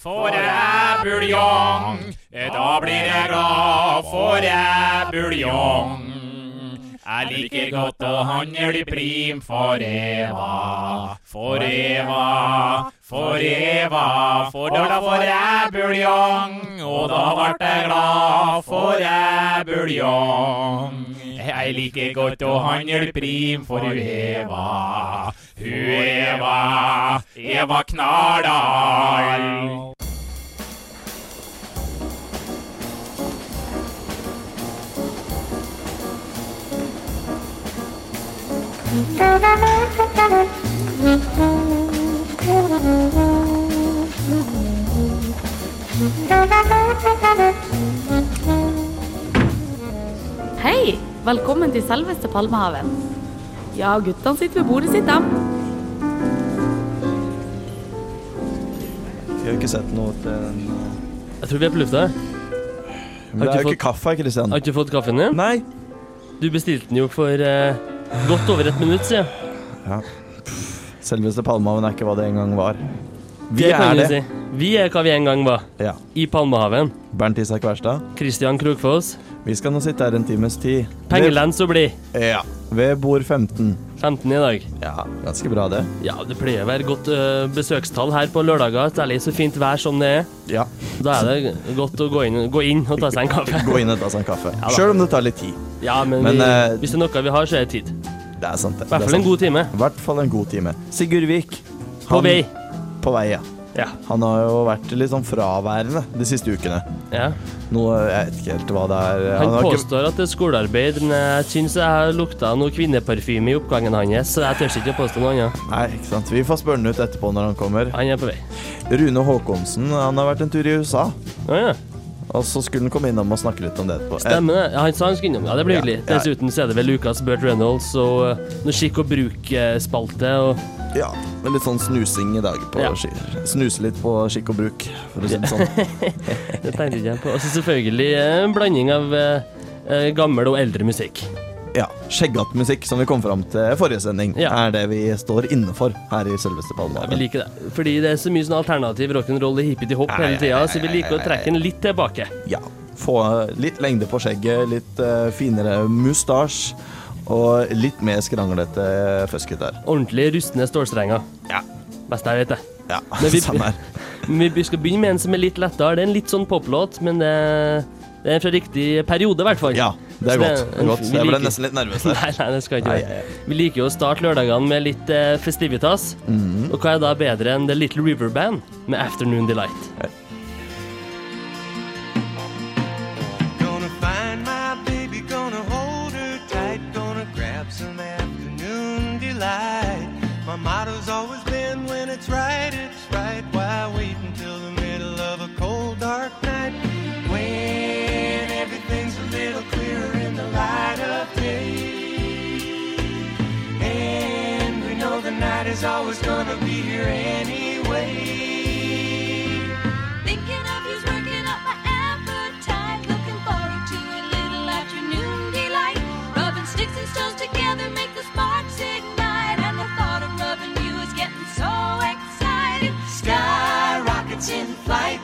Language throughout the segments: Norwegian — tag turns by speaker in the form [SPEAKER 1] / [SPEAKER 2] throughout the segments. [SPEAKER 1] Får jeg buljong, eh, da blir jeg glad. Får jeg buljong. Jeg liker godt å handle i prim for Eva, for Eva, for Eva. For da får jeg buljong, og da ble jeg glad. Får jeg buljong. Jeg liker godt å handle prim for hun Eva. Hun Eva, Eva Knardal.
[SPEAKER 2] Hei! Velkommen til selveste Palmehaven. Ja, guttene sitter ved bordet sitt, dem.
[SPEAKER 3] Vi har jo ikke sett noe til den
[SPEAKER 4] Jeg tror vi er på lufta. her.
[SPEAKER 3] Men det
[SPEAKER 4] ikke
[SPEAKER 3] er jo
[SPEAKER 4] fått-
[SPEAKER 3] ikke kaffe her, Kristian.
[SPEAKER 4] Har ikke du fått kaffen din?
[SPEAKER 3] Nei!
[SPEAKER 4] Du bestilte den jo for eh, godt over et minutt siden.
[SPEAKER 3] Selveste Palmehaven er ikke hva det en gang var. Vi
[SPEAKER 4] Det kan
[SPEAKER 3] er
[SPEAKER 4] du
[SPEAKER 3] det.
[SPEAKER 4] Si. Vi er hva vi en gang var.
[SPEAKER 3] Ja.
[SPEAKER 4] I Palmehaven.
[SPEAKER 3] Bernt Isak Wærstad.
[SPEAKER 4] Christian Krokfoss.
[SPEAKER 3] Vi skal nå sitte her en times tid.
[SPEAKER 4] Pengelens å bli.
[SPEAKER 3] Ved- Ja. Ved bord 15.
[SPEAKER 4] 15 i dag.
[SPEAKER 3] Ja, ganske bra det.
[SPEAKER 4] Ja, det pleier å være godt eh, besøkstall her på lørdager. Særlig så fint vær som det er.
[SPEAKER 3] Ja.
[SPEAKER 4] Da er det godt å gå inn, gå inn og ta seg en kaffe.
[SPEAKER 3] Gå inn og ta seg en kaffe.
[SPEAKER 4] da.
[SPEAKER 3] Sjøl om det tar litt tid.
[SPEAKER 4] Ja, men,
[SPEAKER 3] Men,
[SPEAKER 4] vi,
[SPEAKER 3] eh,
[SPEAKER 4] hvis det er noe vi har, så er det tid. I
[SPEAKER 3] Det er sant, det.
[SPEAKER 4] hvert fall en god time.
[SPEAKER 3] I hvert fall en god time. Sigurd Vik.
[SPEAKER 4] På
[SPEAKER 3] han-
[SPEAKER 4] vei.
[SPEAKER 3] På vei, ja.
[SPEAKER 4] Ja.
[SPEAKER 3] Han har jo vært litt sånn fraværende de siste ukene.
[SPEAKER 4] ja.
[SPEAKER 3] Noe Jeg vet ikke helt hva det er.
[SPEAKER 4] Han
[SPEAKER 3] har ikke-
[SPEAKER 4] påstår at det er skolearbeid, men jeg syns jeg har lukta noe kvinneparfyme i oppgangen hans, så jeg tør ikke å påstå noe annet.
[SPEAKER 3] Nei, ikke sant. Vi får spørre han ut etterpå når han kommer.
[SPEAKER 4] Han er på vei.
[SPEAKER 3] Rune Håkonsen han har vært en tur i USA,
[SPEAKER 4] Å
[SPEAKER 3] Eh.
[SPEAKER 4] ja.
[SPEAKER 3] og så skulle han komme innom og snakke litt om det etterpå.
[SPEAKER 4] Stemmer det. Ja, Han sa han skulle innom. Ja, det blir
[SPEAKER 3] Ja,
[SPEAKER 4] hyggelig.
[SPEAKER 3] ja.
[SPEAKER 4] Dessuten så er det vel Lucas Burt Reynolds og eh, noe skikk og bruk-spalte og
[SPEAKER 3] Eh, ja, men litt sånn snusing i dag på
[SPEAKER 4] Ja.
[SPEAKER 3] ski. Snuse litt på skikk og bruk, for å si det sånn.
[SPEAKER 4] Det tenkte ikke jeg på. Og så selvfølgelig eh, en blanding av eh, eh, gammel og eldre musikk.
[SPEAKER 3] Ja, Skjeggete musikk, som vi kom fram til i forrige sending,
[SPEAKER 4] Ja.
[SPEAKER 3] er det vi står inne for her i selveste
[SPEAKER 4] Vi
[SPEAKER 3] Palmehaven.
[SPEAKER 4] liker det. Fordi det er så mye sånn alternativ rock'n'roll og hippie-til-hopp hele tida, så vi liker å trekke den litt tilbake.
[SPEAKER 3] Ja. Få eh, litt lengde på skjegget, litt eh, finere mustasj og litt mer skranglete føskete der.
[SPEAKER 4] Ordentlig rustne stålstrenger.
[SPEAKER 3] Ja.
[SPEAKER 4] Best jeg vet, det.
[SPEAKER 3] Ja,
[SPEAKER 4] Men vi-
[SPEAKER 3] samme her.
[SPEAKER 4] Men Vi skal begynne med en som er litt lettere. Det er en litt sånn poplåt, men det det er fra riktig periode, i hvert fall.
[SPEAKER 3] Ja, det
[SPEAKER 4] Så
[SPEAKER 3] er godt.
[SPEAKER 4] en-
[SPEAKER 3] godt.
[SPEAKER 4] vi
[SPEAKER 3] Jeg ble
[SPEAKER 4] liker-
[SPEAKER 3] nesten litt nervøs her.
[SPEAKER 4] Nei, nei, det skal ikke
[SPEAKER 3] Nei,
[SPEAKER 4] være.
[SPEAKER 3] nei,
[SPEAKER 4] Vi liker jo å starte lørdagene med litt eh, festivitas. Og hva er da bedre enn The Little River Band med Afternoon Delight?
[SPEAKER 5] Gonna find my baby, gonna hold her tight, gonna grab some afternoon delight. My motto's always been when it's right, it's right. Why wait until the middle of a cold, dark night? When everything's a little clearer in the light of day. And we know the night is always gonna be here anyway.
[SPEAKER 6] Thinking of you's working up my appetite. Looking forward to a little afternoon delight. Rubbing sticks and stones together make the sparks ignite. And the thought of rubbing you is getting so exciting.
[SPEAKER 5] Sky rockets in flight.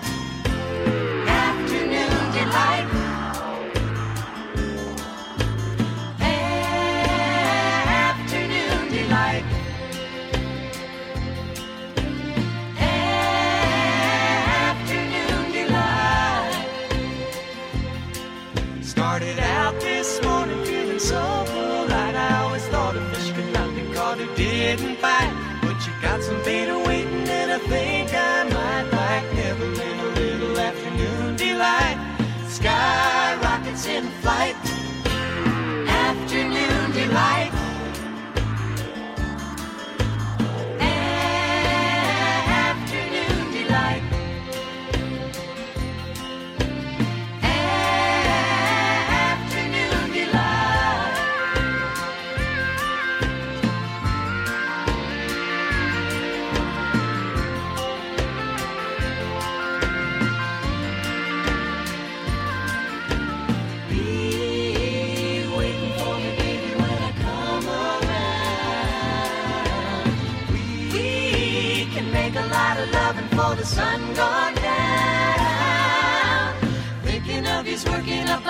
[SPEAKER 6] Afternoon delight. Afternoon delight. Afternoon delight.
[SPEAKER 5] Started out this morning feeling so polite. I always thought a fish could not be caught who didn't bite. But you got some bait waiting, and I think I might like never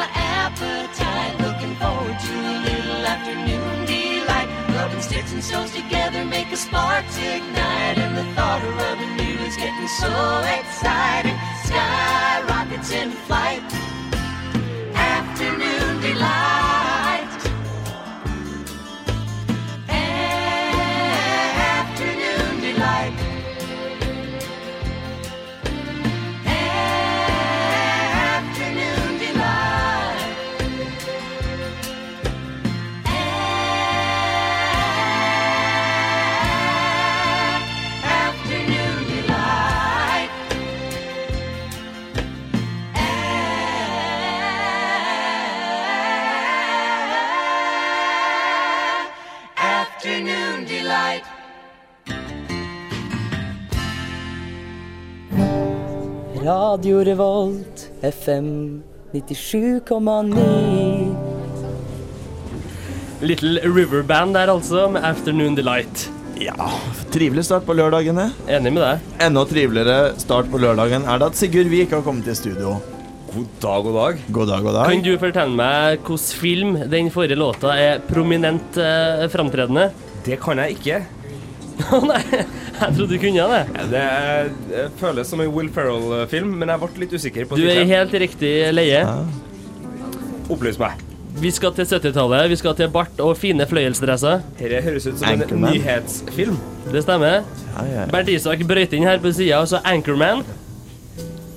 [SPEAKER 5] appetite. Looking forward to a little afternoon delight. Rubbing sticks and stones together make a spark to ignite. And the thought of rubbing you is getting so exciting. Sky rockets in flight. Afternoon delight. Afternoon delight. Afternoon delight. Afternoon delight. Afternoon delight.
[SPEAKER 7] Radio Revolt, FM 97,9.
[SPEAKER 4] Little River Band der, altså, med Afternoon Delight.
[SPEAKER 3] Ja, Trivelig start på lørdagene.
[SPEAKER 4] Enig med deg.
[SPEAKER 3] Enda triveligere start på lørdagen er det at Sigurd Vik har kommet i studio.
[SPEAKER 8] God dag, god dag.
[SPEAKER 3] God dag, god dag.
[SPEAKER 4] Kan du fortelle meg hvilken film den forrige låta er prominent eh, framtredende?
[SPEAKER 8] Det kan jeg ikke.
[SPEAKER 4] Å nei, jeg trodde du kunne det.
[SPEAKER 8] Det er, det føles som en Will Ferrell-film, men jeg ble litt usikker på
[SPEAKER 4] Du er i
[SPEAKER 8] tittelen.
[SPEAKER 4] helt riktig leie.
[SPEAKER 8] Opplys meg.
[SPEAKER 4] Vi skal til 70-tallet. Vi skal til bart og fine fløyelsdresser.
[SPEAKER 8] Dette høres ut som
[SPEAKER 3] Anchorman.
[SPEAKER 8] en nyhetsfilm.
[SPEAKER 4] Det stemmer.
[SPEAKER 3] Ja, ja, ja.
[SPEAKER 4] Bernt Isak brøyt inn her på sida, og så Anchorman.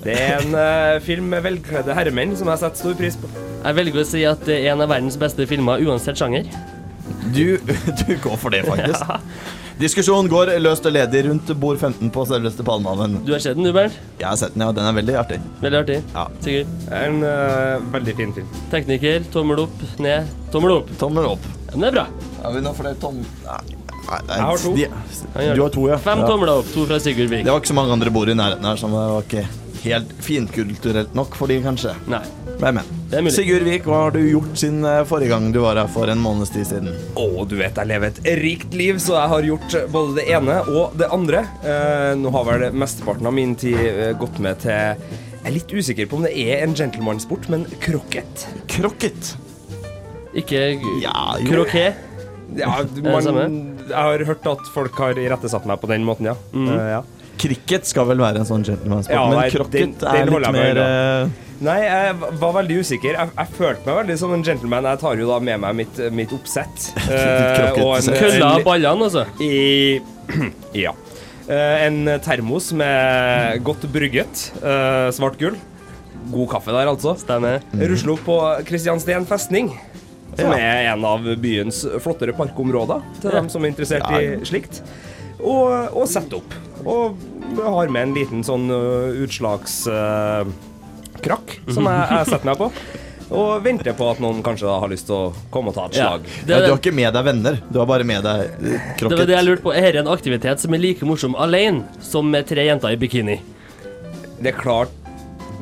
[SPEAKER 8] Det er en eh, film med velkledde herremenn som jeg setter stor pris på.
[SPEAKER 4] Jeg velger å si at det er en av verdens beste filmer uansett sjanger.
[SPEAKER 3] Du, du går for det, faktisk. Diskusjonen går løst og ledig rundt bord 15 på selveste Palmehaven.
[SPEAKER 4] Du har sett den, du, Bernt?
[SPEAKER 3] Jeg har sett den, ja. Den er veldig artig.
[SPEAKER 4] Veldig artig.
[SPEAKER 3] Ja.
[SPEAKER 4] Sikkert.
[SPEAKER 8] Det er en eh, veldig fin film.
[SPEAKER 4] Tekniker, tommel opp, ned, tommel opp.
[SPEAKER 3] Tommel opp.
[SPEAKER 4] Ja, Men det er bra.
[SPEAKER 3] Har vi noe flere tom... Nei, nei, nei.
[SPEAKER 8] Jeg har to.
[SPEAKER 3] De, du har to, ja.
[SPEAKER 4] Fem
[SPEAKER 3] ja.
[SPEAKER 4] tomler opp, to fra Sigurd Vik.
[SPEAKER 3] Det var ikke så mange andre bord i nærheten her, så det var ikke helt finkulturelt nok for de, kanskje.
[SPEAKER 4] Nei.
[SPEAKER 3] Hvem vet.
[SPEAKER 4] Det er mulig.
[SPEAKER 3] Sigurd Vik, hva har du gjort siden eh, forrige gang du var her for en måneds tid siden?
[SPEAKER 8] Å, du vet jeg lever et rikt liv, så jeg har gjort både det ene og det andre. Eh, nå har vel mesteparten av min tid eh, gått med til Jeg er litt usikker på om det er en gentlemansport, men krokket.
[SPEAKER 3] Krokket.
[SPEAKER 4] Ikke g-
[SPEAKER 3] Ja, jo.
[SPEAKER 4] kroké.
[SPEAKER 8] Ja,
[SPEAKER 4] det samme?
[SPEAKER 8] man, jeg har hørt at folk har irettesatt meg på den måten, ja. Eh, ja.
[SPEAKER 3] Cricket skal vel være en sånn gentlemansport,
[SPEAKER 8] Ja, nei,
[SPEAKER 3] men
[SPEAKER 8] den-
[SPEAKER 3] krokket
[SPEAKER 8] den
[SPEAKER 3] er
[SPEAKER 8] holder
[SPEAKER 3] litt
[SPEAKER 8] jeg meg
[SPEAKER 3] mer eh,
[SPEAKER 8] Nei, jeg v- var veldig usikker. Jeg, jeg følte meg veldig som en gentleman. Jeg tar jo da med meg mitt, mitt oppsett. eh,
[SPEAKER 3] krokket-
[SPEAKER 8] og en-
[SPEAKER 4] Kølla
[SPEAKER 8] en-
[SPEAKER 4] av ballene, altså.
[SPEAKER 8] I Ja. Eh, en termos med godt brygget eh, svart gull. God kaffe der, altså.
[SPEAKER 4] Stemmer.
[SPEAKER 8] Rusle opp på Kristiansten festning, som
[SPEAKER 3] Ja.
[SPEAKER 8] er en av byens flottere parkområder, til dem som er interessert i slikt. Og, og sette opp. Og har med en liten sånn utslagskrakk som jeg, jeg setter meg på. Og venter på at noen kanskje da har lyst til å komme og ta et
[SPEAKER 4] Ja.
[SPEAKER 8] slag.
[SPEAKER 4] Det,
[SPEAKER 3] ja, Du
[SPEAKER 4] er-
[SPEAKER 3] har ikke med deg venner, du har bare med deg eh, krokket.
[SPEAKER 4] det var det jeg lurte på. Er det en aktivitet som er like morsom alene som med tre jenter i bikini?
[SPEAKER 8] Det er klart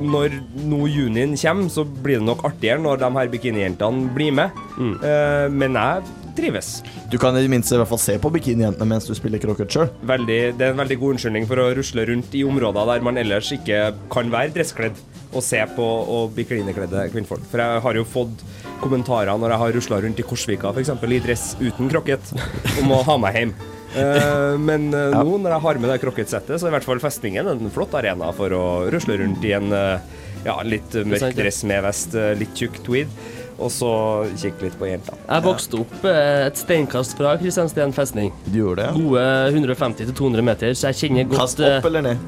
[SPEAKER 8] når nå junien kommer, så blir det nok artigere når de her bikinijentene blir med. Eh, men jeg trives.
[SPEAKER 3] Du kan i det minste i hvert fall se på bikinijentene mens du spiller krokket sjøl.
[SPEAKER 8] Veldig, det er en veldig god unnskyldning for å rusle rundt i områder der man ellers ikke kan være dresskledd og se på og bli klinekledde kvinnfolk. For jeg har jo fått kommentarer når jeg har rusla rundt i Korsvika f.eks. i dress uten krokket, om å ha meg hjem. Eh, men eh, nå når jeg har med det krokketsettet, så er i hvert fall festningen en flott arena for å rusle rundt i en eh, ja, litt mørk
[SPEAKER 4] sant, ja.
[SPEAKER 8] dress med vest, eh, litt tjukk tweed, og så kikke litt på jentene.
[SPEAKER 4] Jeg vokste opp eh, et steinkast fra Kristiansten festning.
[SPEAKER 3] Du gjorde det?
[SPEAKER 4] Gode 150-200 meter, så jeg kjenner godt
[SPEAKER 3] Kast
[SPEAKER 4] eh,
[SPEAKER 3] opp eller ned?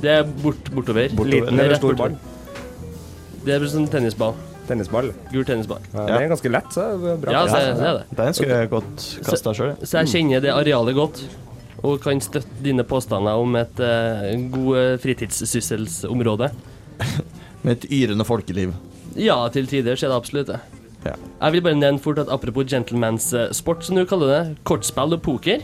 [SPEAKER 4] Det er bort, bortover.
[SPEAKER 8] Liten eller
[SPEAKER 4] Rett
[SPEAKER 8] stor
[SPEAKER 4] bortover.
[SPEAKER 8] ball?
[SPEAKER 4] Det er som tennisball.
[SPEAKER 8] Tennisball?
[SPEAKER 4] Gul tennisball.
[SPEAKER 8] Ja, Det er ganske lett, så det er bra.
[SPEAKER 4] Ja, så jeg- det er det.
[SPEAKER 3] Den skulle jeg godt kasta sjøl.
[SPEAKER 4] Så jeg kjenner det arealet godt. Og kan støtte dine påstander om et eh, god eh, fritidssysselsområde.
[SPEAKER 3] Med et yrende folkeliv.
[SPEAKER 4] Ja, til tider så er det absolutt det.
[SPEAKER 3] Ja.
[SPEAKER 4] Jeg vil bare nevne fort at apropos gentlemans eh, sport, som du kaller det, kortspill og poker.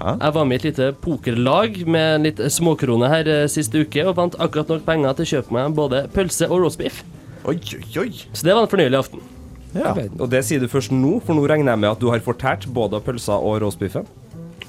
[SPEAKER 3] Ja.
[SPEAKER 4] Jeg var med i et lite pokerlag med en litt småkrone her eh, sist uke, og vant akkurat nok penger til å kjøpe meg både pølse og roastbeef.
[SPEAKER 3] Oi, oi, oi.
[SPEAKER 4] Så det var en fornøyelig aften.
[SPEAKER 3] Ja.
[SPEAKER 8] Og det sier du først nå, for nå regner jeg med at du har fortært både av pølsa og roastbiffen.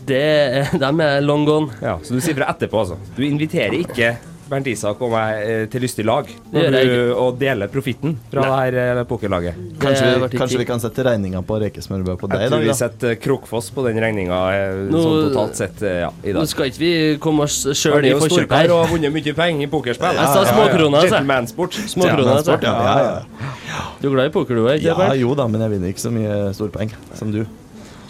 [SPEAKER 4] Det, de er long gone.
[SPEAKER 8] Ja, så du sier fra etterpå, altså. Du inviterer ikke Bernt Isak og meg eh, til lystig lag
[SPEAKER 4] Det gjør
[SPEAKER 8] når
[SPEAKER 4] jeg
[SPEAKER 8] du, og deler profitten fra det her eh, pokerlaget.
[SPEAKER 9] Kanskje,
[SPEAKER 4] ble
[SPEAKER 9] vi,
[SPEAKER 4] ikke-
[SPEAKER 9] kanskje vi kan sette regninga på rekesmørbrød på deg i
[SPEAKER 8] Jeg tror
[SPEAKER 9] dag,
[SPEAKER 8] vi
[SPEAKER 9] da?
[SPEAKER 8] setter Krokfoss på den regninga eh,
[SPEAKER 4] Nå-
[SPEAKER 8] sånn totalt sett eh, ja, i
[SPEAKER 4] Nå
[SPEAKER 8] dag.
[SPEAKER 4] skal ikke vi komme oss
[SPEAKER 8] Han
[SPEAKER 4] sjøl
[SPEAKER 8] er
[SPEAKER 4] i
[SPEAKER 8] jo
[SPEAKER 4] forkjøpet
[SPEAKER 8] storkar
[SPEAKER 4] her.
[SPEAKER 8] og har vunnet mye penger i pokerspill.
[SPEAKER 4] Jeg sa småkroner, altså.
[SPEAKER 8] Gentlemansport.
[SPEAKER 4] Småkroner, altså.
[SPEAKER 9] Ja, ja, ja.
[SPEAKER 4] Du er glad i poker, du òg?
[SPEAKER 9] ja, jo da, men jeg vinner ikke så mye storpeng som du.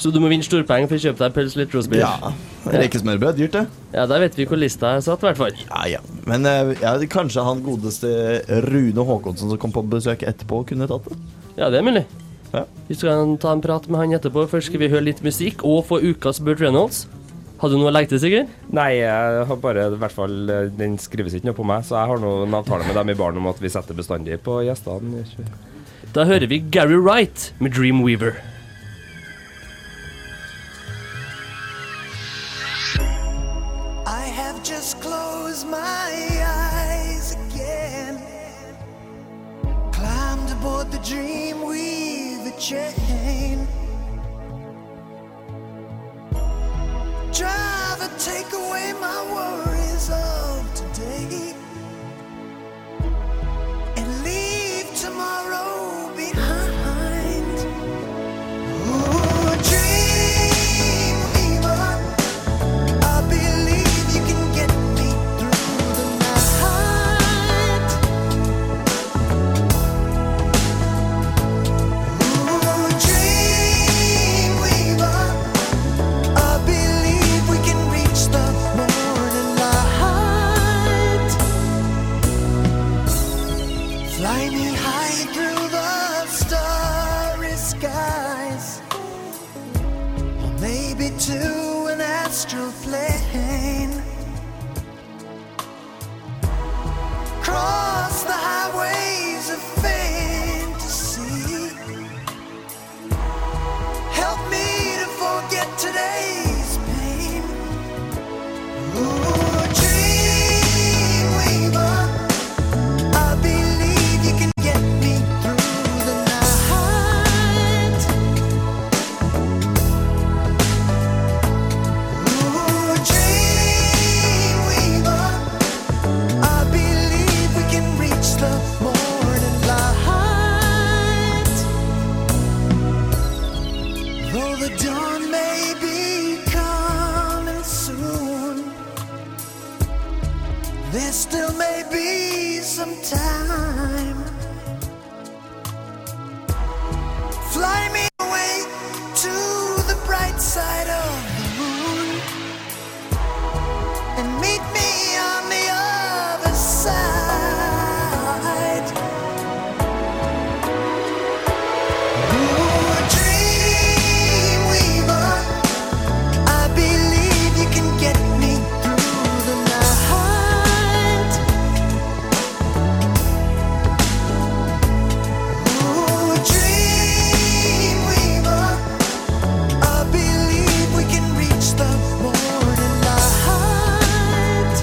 [SPEAKER 4] Så du må vinne storpenger for å kjøpe deg pels litt roastbeer?
[SPEAKER 9] Ja. Rekesmørbrød, dyrt det.
[SPEAKER 4] ja, der vet vi hvor lista er satt, i hvert fall.
[SPEAKER 9] Ja, ja. Men eh, ja, kanskje han godeste Rune Håkonsen som kom på besøk etterpå, kunne tatt det?
[SPEAKER 4] Ja, det er mulig.
[SPEAKER 9] Ja.
[SPEAKER 4] Vi skal ta en prat med han etterpå. Først skal vi høre litt musikk og få ukas Burt Reynolds. Hadde du noe å legge til, Sigurd?
[SPEAKER 8] Nei, jeg har bare i hvert fall eh, Den skrives ikke noe på meg, så jeg har nå en avtale med dem i baren om at vi setter bestandig på gjestene.
[SPEAKER 4] Da hører vi Gary Wright med Dreamweaver.
[SPEAKER 5] I have just closed my eyes again. Climbed aboard the dream with a chain. Try to take away my worries of today. And leave tomorrow behind. Ooh, dream even. I believe you can get me through the night. Ooh, dreamweaver. I believe we can reach the morning light. Fly me high through the starry skies. Maybe to an astral plane. Cross the highways of fantasy. Help me to forget today's pain. Ooh, dreamweaver, I believe you can get me through the night. There Still may be some time. Fly me away to the bright side of the moon and meet me on the other side. Ooh, dreamweaver, I believe you can get me through the night. Ooh, dreamweaver. I believe we can reach the morning light.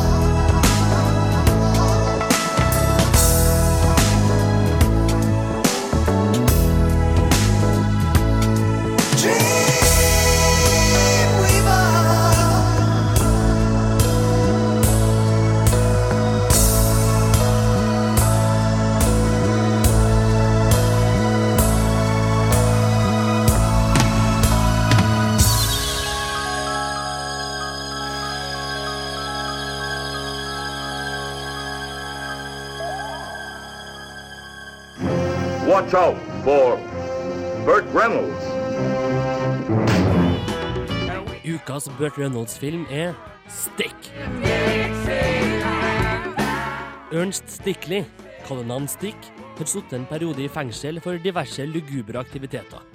[SPEAKER 5] Dreamweaver. Dreamweaver.
[SPEAKER 10] Watch out for Burt Reynolds.
[SPEAKER 4] Ukas Burt Reynolds-film er Stikk. Ernst Stickli, kallenavn Stikk, har sittet en periode i fengsel for diverse lugubre aktiviteter.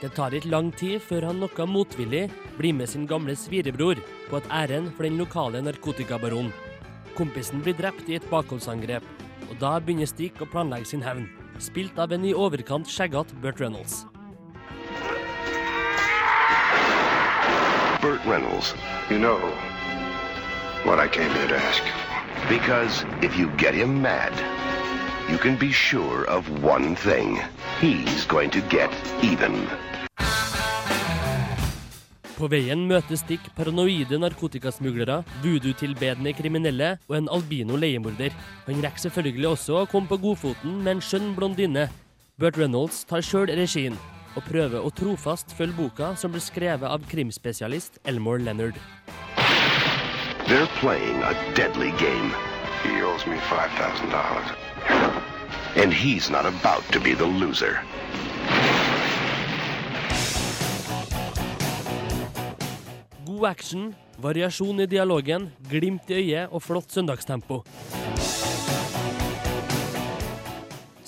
[SPEAKER 4] Det tar ikke lang tid før han noe motvillig blir med sin gamle svirebror på et ærend for den lokale narkotikabaronen. Kompisen blir drept i et bakholdsangrep, og da begynner Stikk å planlegge sin hevn, spilt av en i overkant skjeggete Burt Reynolds.
[SPEAKER 10] Burt Reynolds. You know what I came here to ask you for. Because if you get him mad, you can be sure of one thing
[SPEAKER 1] he's going to get even.
[SPEAKER 4] På veien møter Stikk paranoide narkotikasmuglere, voodoo-tilbedende kriminelle og en albino leiemorder. Han rekker selvfølgelig også å komme på godfoten med en skjønn blondine. Burt Reynolds tar sjøl regien og prøver å trofast følge boka som ble skrevet av krimspesialist Elmore Leonard.
[SPEAKER 1] They're playing a deadly game. He owes me $5,000. And he's not about to be the loser.
[SPEAKER 4] God action, variasjon i dialogen, glimt i øyet og flott søndagstempo.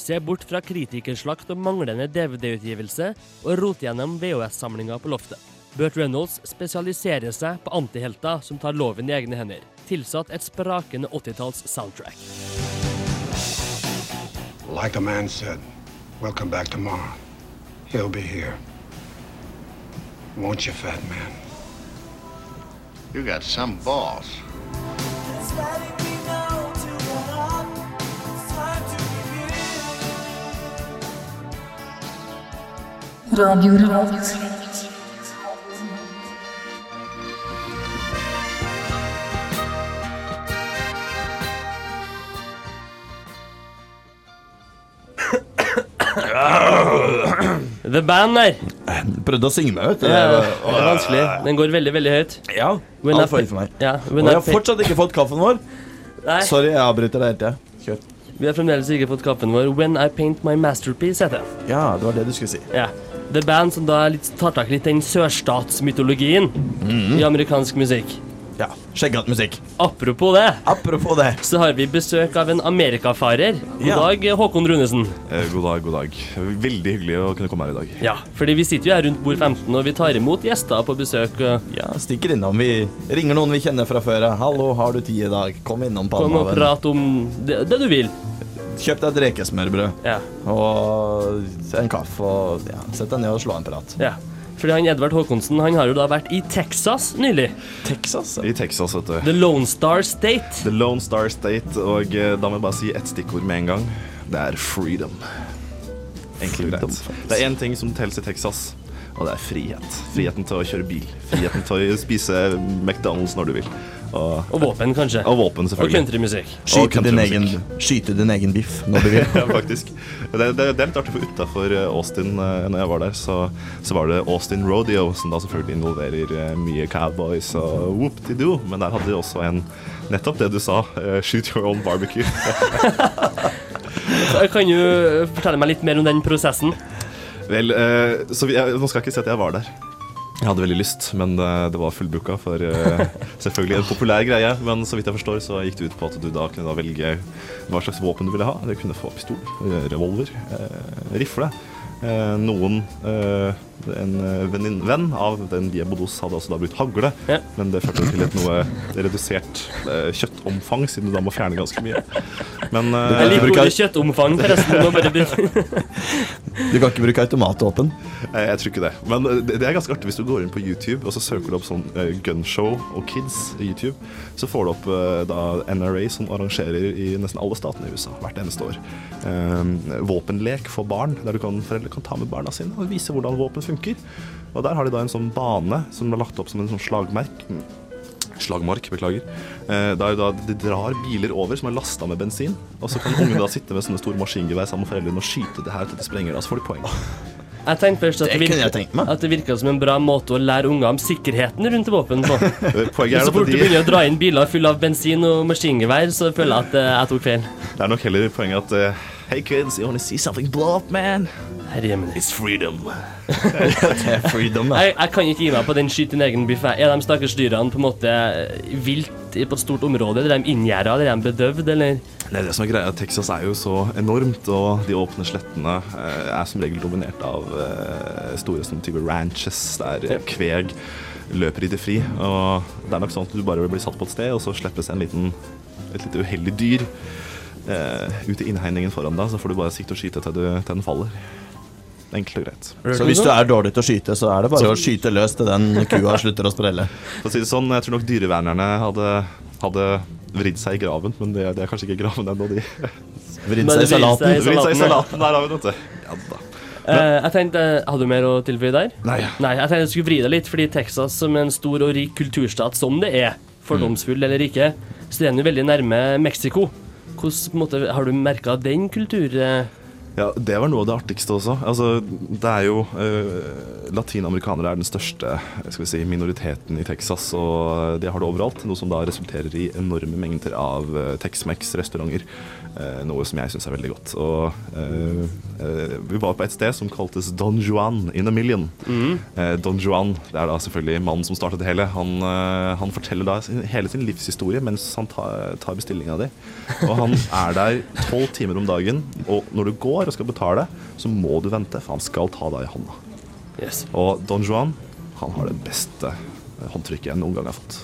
[SPEAKER 4] Se bort fra kritikerslakt og manglende DVD-utgivelse, og rot gjennom VHS-samlinga på loftet. Burt Reynolds spesialiserer seg på antihelter som tar loven i egne hender, tilsatt et sprakende 80-talls soundtrack.
[SPEAKER 1] Like the man said, we'll come back tomorrow. He'll be here. Won't you, fat man? You got some balls.
[SPEAKER 5] Radio Revolt.
[SPEAKER 4] The band der!
[SPEAKER 3] Prøvde å synge meg ut.
[SPEAKER 4] Det er,
[SPEAKER 3] det-
[SPEAKER 4] det er vanskelig. Den går veldig, veldig høyt.
[SPEAKER 3] Ja,
[SPEAKER 4] When I
[SPEAKER 3] alt for
[SPEAKER 4] pa-
[SPEAKER 3] for meg.
[SPEAKER 4] Ja,
[SPEAKER 3] Og
[SPEAKER 4] when
[SPEAKER 3] jeg
[SPEAKER 4] I
[SPEAKER 3] har
[SPEAKER 4] pa-
[SPEAKER 3] fortsatt ikke fått kaffen vår.
[SPEAKER 4] Nei.
[SPEAKER 3] Sorry, jeg avbryter deg hele tida. Kjør.
[SPEAKER 4] Vi har fremdeles ikke fått kaffen vår. When I paint my masterpiece, heter den.
[SPEAKER 3] Ja, det var det du skulle si.
[SPEAKER 4] Ja. The Band som da er litt, tar tak i litt den sørstatsmytologien
[SPEAKER 8] Mhm.
[SPEAKER 4] i amerikansk musikk.
[SPEAKER 3] Ja, Skjeggete musikk.
[SPEAKER 4] Apropos det,
[SPEAKER 3] Apropos det.
[SPEAKER 4] så har vi besøk av en amerikafarer. God
[SPEAKER 8] Ja.
[SPEAKER 4] dag, Håkon Runesen.
[SPEAKER 3] Eh,
[SPEAKER 8] God dag, god dag. Veldig hyggelig å kunne komme her i dag.
[SPEAKER 4] Ja, fordi vi sitter jo her rundt bord 15, og vi tar imot gjester på besøk. eh, og
[SPEAKER 3] Ja, Stikker innom. Vi ringer noen vi kjenner fra før. ja. 'Hallo, har du tid i dag?' Kom innom
[SPEAKER 4] Kom og
[SPEAKER 3] Palmehaven.
[SPEAKER 4] prat om det, det du vil.
[SPEAKER 3] Kjøp deg et rekesmørbrød
[SPEAKER 4] Ja,
[SPEAKER 3] og en kaffe. Og, ja, sett deg ned og slå en prat.
[SPEAKER 4] ja. Fordi han Edvard Håkonsen han har jo da vært i Texas nylig.
[SPEAKER 3] Texas?
[SPEAKER 8] I Texas, vet du.
[SPEAKER 4] The Lone Star State.
[SPEAKER 8] The Lone Star State. Og eh, da må jeg bare si ett stikkord med en gang. Det er freedom. Enkelt og greit. Det er én ting som telles i Texas, og det er frihet. Friheten til å kjøre bil. Friheten til å spise McDonald's når du vil. Og,
[SPEAKER 4] Og våpen, kanskje.
[SPEAKER 8] og våpen,
[SPEAKER 4] Og
[SPEAKER 8] selvfølgelig.
[SPEAKER 4] countrymusikk.
[SPEAKER 8] Og
[SPEAKER 3] Skyte din, egen,
[SPEAKER 8] countrymusikk.
[SPEAKER 3] skyte din egen biff når du vil.
[SPEAKER 8] Ja, faktisk. Det, det, det er litt artig, for utafor Austin, eh, når jeg var der, så, så var det Austin Rodeo, som da selvfølgelig involverer eh, mye cowboys og whoop-de-doo, men der hadde de også en Nettopp det du sa. eh, Shoot your own barbecue.
[SPEAKER 4] Kan du fortelle meg litt mer om den prosessen?
[SPEAKER 8] Vel, eh, så vi, jeg, nå skal jeg ikke si at jeg var der. Jeg hadde veldig lyst, men eh, det var fullbooka for eh, selvfølgelig en populær greie. Men så vidt jeg forstår, så gikk det ut på at du da kunne da velge hva slags våpen du ville ha. Du kunne få pistol, eh, revolver, eh, rifle. Eh, noen eh, En eh, venin, venn av den vi er bodos, hadde også da brukt hagle.
[SPEAKER 4] Ja.
[SPEAKER 8] Men det førte til et noe redusert eh, kjøttomfang, siden du da må fjerne ganske mye. Men eh,
[SPEAKER 4] Jeg liker
[SPEAKER 3] bruker-
[SPEAKER 4] ordet kjøttomfang, forresten. Nå bare blir-
[SPEAKER 3] Du kan ikke bruke automatvåpen.
[SPEAKER 8] Eh, Jeg tror ikke det. Men eh, det det er ganske artig hvis du går inn på YouTube og så søker du opp sånn eh, gunshow og kids i YouTube. Så får du opp eh, da NRA som arrangerer i nesten alle statene i USA hvert eneste år. Eh, Våpenlek for barn, der du kan, foreldre kan ta med barna sine og vise hvordan våpen funker. Og der har de da en sånn bane som er lagt opp som en sånn slagmerk. Slagmark, beklager. Eh, der da de drar biler over som er lasta med bensin. Og så kan ungene da sitte med sånne store maskingevær sammen med foreldrene og skyte det her til de sprenger. Da så får de poeng.
[SPEAKER 4] Jeg tenkte først at
[SPEAKER 3] Det
[SPEAKER 4] det,
[SPEAKER 3] kunne jeg
[SPEAKER 4] virka,
[SPEAKER 3] tenkt meg.
[SPEAKER 4] at det virka som en bra måte å lære unger om sikkerheten rundt våpen på. Men
[SPEAKER 8] Eh, Poenget er
[SPEAKER 4] så
[SPEAKER 8] at
[SPEAKER 4] fort du
[SPEAKER 8] de-
[SPEAKER 4] begynner å dra inn biler fulle av bensin og maskingevær, så føler jeg at eh, jeg tok feil.
[SPEAKER 8] Det er nok heller poenget at eh, Hey kids, you wanna see something blow up, man?
[SPEAKER 4] Herre jemine.
[SPEAKER 8] It's freedom.
[SPEAKER 3] Det er freedom, da.
[SPEAKER 4] Jeg, jeg kan ikke gi meg på den skyt din egen biff. jeg. Er de stakkars dyrene på en måte vilt i- på et stort område? Er de inngjerda? Er de bedøvd, eller?
[SPEAKER 8] Det er det som er greia. Texas er jo så enormt, og de åpne slettene eh, er som regel dominert av eh, store sånne type ranches der eh, kveg løper i det fri. Og det er nok sånn at du bare blir satt på et sted, og så slippes en liten, et lite uheldig dyr eh, ut i innhegningen foran deg, så får du bare sikte og skyte til, du, til den faller. Enkelt og greit.
[SPEAKER 3] Så hvis du er dårlig til å skyte, så er det bare å skyte løs til den kua slutter å sprelle.
[SPEAKER 8] For å si det sånn, jeg tror nok dyrevernerne hadde, hadde vridd seg i graven, men det, det er kanskje ikke graven ennå, de.
[SPEAKER 3] Vridd
[SPEAKER 4] Men det viser
[SPEAKER 3] seg i salaten.
[SPEAKER 4] seg i
[SPEAKER 8] Vridd seg i
[SPEAKER 4] salaten, ja.
[SPEAKER 8] salaten der har vi det, vet du. Ja da.
[SPEAKER 4] Eh, jeg tenkte, eh, Hadde du mer å tilføye der?
[SPEAKER 3] Nei.
[SPEAKER 4] Jeg tenkte jeg skulle vri deg litt, fordi Texas som en stor og rik kulturstat som det er, fordomsfull eller ikke, så er den jo veldig nærme Mexico. Hvordan, på en måte, har du merka den kultur... eh,
[SPEAKER 3] Ja, Det var noe av det artigste også. Altså, det er jo eh, Latinamerikanere er den største skal vi si, minoriteten i Texas, og de har det overalt. Noe som da resulterer i enorme mengder av eh, Tex-Mex-restauranter. eh, noe som jeg syns er veldig godt. Og, eh, eh, vi var på et sted som kaltes Don Juan in a Million. Eh, Don Juan det er da selvfølgelig mannen som startet det hele. Han, eh, han forteller da sin, hele sin livshistorie mens han tar, tar bestillinga di. Og han er der tolv timer om dagen, og når du går og skal betale, så må du vente, for han skal ta deg i hånda. Og Don Juan, han har det beste eh, håndtrykket jeg noen gang har fått.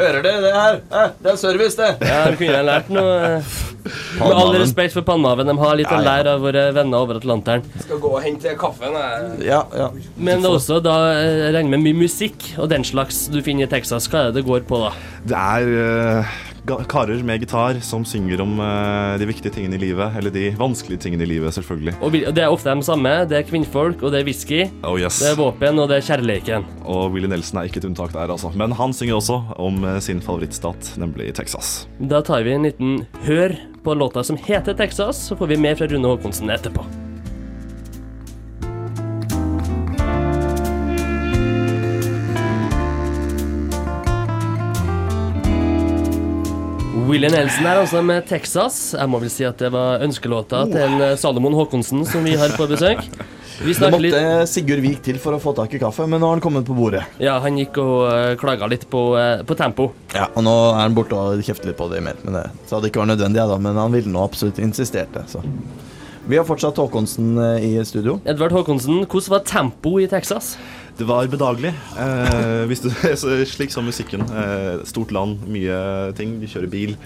[SPEAKER 11] Hører dere det her? Eh, Det er service, det.
[SPEAKER 4] Ja, de kunne jeg lært noe. eh. Med all
[SPEAKER 11] Palmehaven.
[SPEAKER 4] respekt for Palmehaven, de har litt
[SPEAKER 11] Ja,
[SPEAKER 4] å
[SPEAKER 11] ja.
[SPEAKER 4] lære av våre venner over Atlanteren.
[SPEAKER 11] Skal gå og hente kaffen. eh. jeg.
[SPEAKER 9] Ja, ja.
[SPEAKER 4] Men også da eh, jeg regner med mye musikk og den slags du finner i Texas. Hva er det det går på, da?
[SPEAKER 3] Det er eh, ga- karer med gitar som synger om eh, de viktige tingene i livet. Eller de vanskelige tingene i livet, selvfølgelig.
[SPEAKER 4] Og vil- og det er ofte de samme. Det er kvinnfolk, og det er whisky.
[SPEAKER 3] Oh, yes.
[SPEAKER 4] Det er våpen, og det er kjærleiken.
[SPEAKER 3] Og Willie Nelson er ikke et unntak der, altså. Men han synger også om eh, sin favorittstat, nemlig Texas.
[SPEAKER 4] Da tar vi en liten hør på låta som heter Texas, så får vi mer fra Rune Håkonsen etterpå. Willie Nelson er altså med Texas. Jeg må vel si at det var ønskelåta til en eh, Salomon Håkonsen som vi har på besøk. Vi
[SPEAKER 9] Det
[SPEAKER 4] snakker litt
[SPEAKER 9] måtte Sigurd Vik til for å få tak i kaffe, men nå har han kommet på bordet.
[SPEAKER 4] Ja, han gikk og eh, klaga litt på, eh, på tempo.
[SPEAKER 9] Ja, og nå er han borte og kjefter litt på det mer. Men det, så hadde det ikke vært nødvendig, jeg da, men han ville nå absolutt insisterte. Så. Vi har fortsatt Håkonsen eh, i studio.
[SPEAKER 4] Edvard Håkonsen, hvordan var tempoet i Texas?
[SPEAKER 3] Det var bedagelig. Eh, hvis du, så- slik som musikken. Eh, stort land, mye ting. Vi kjører bil.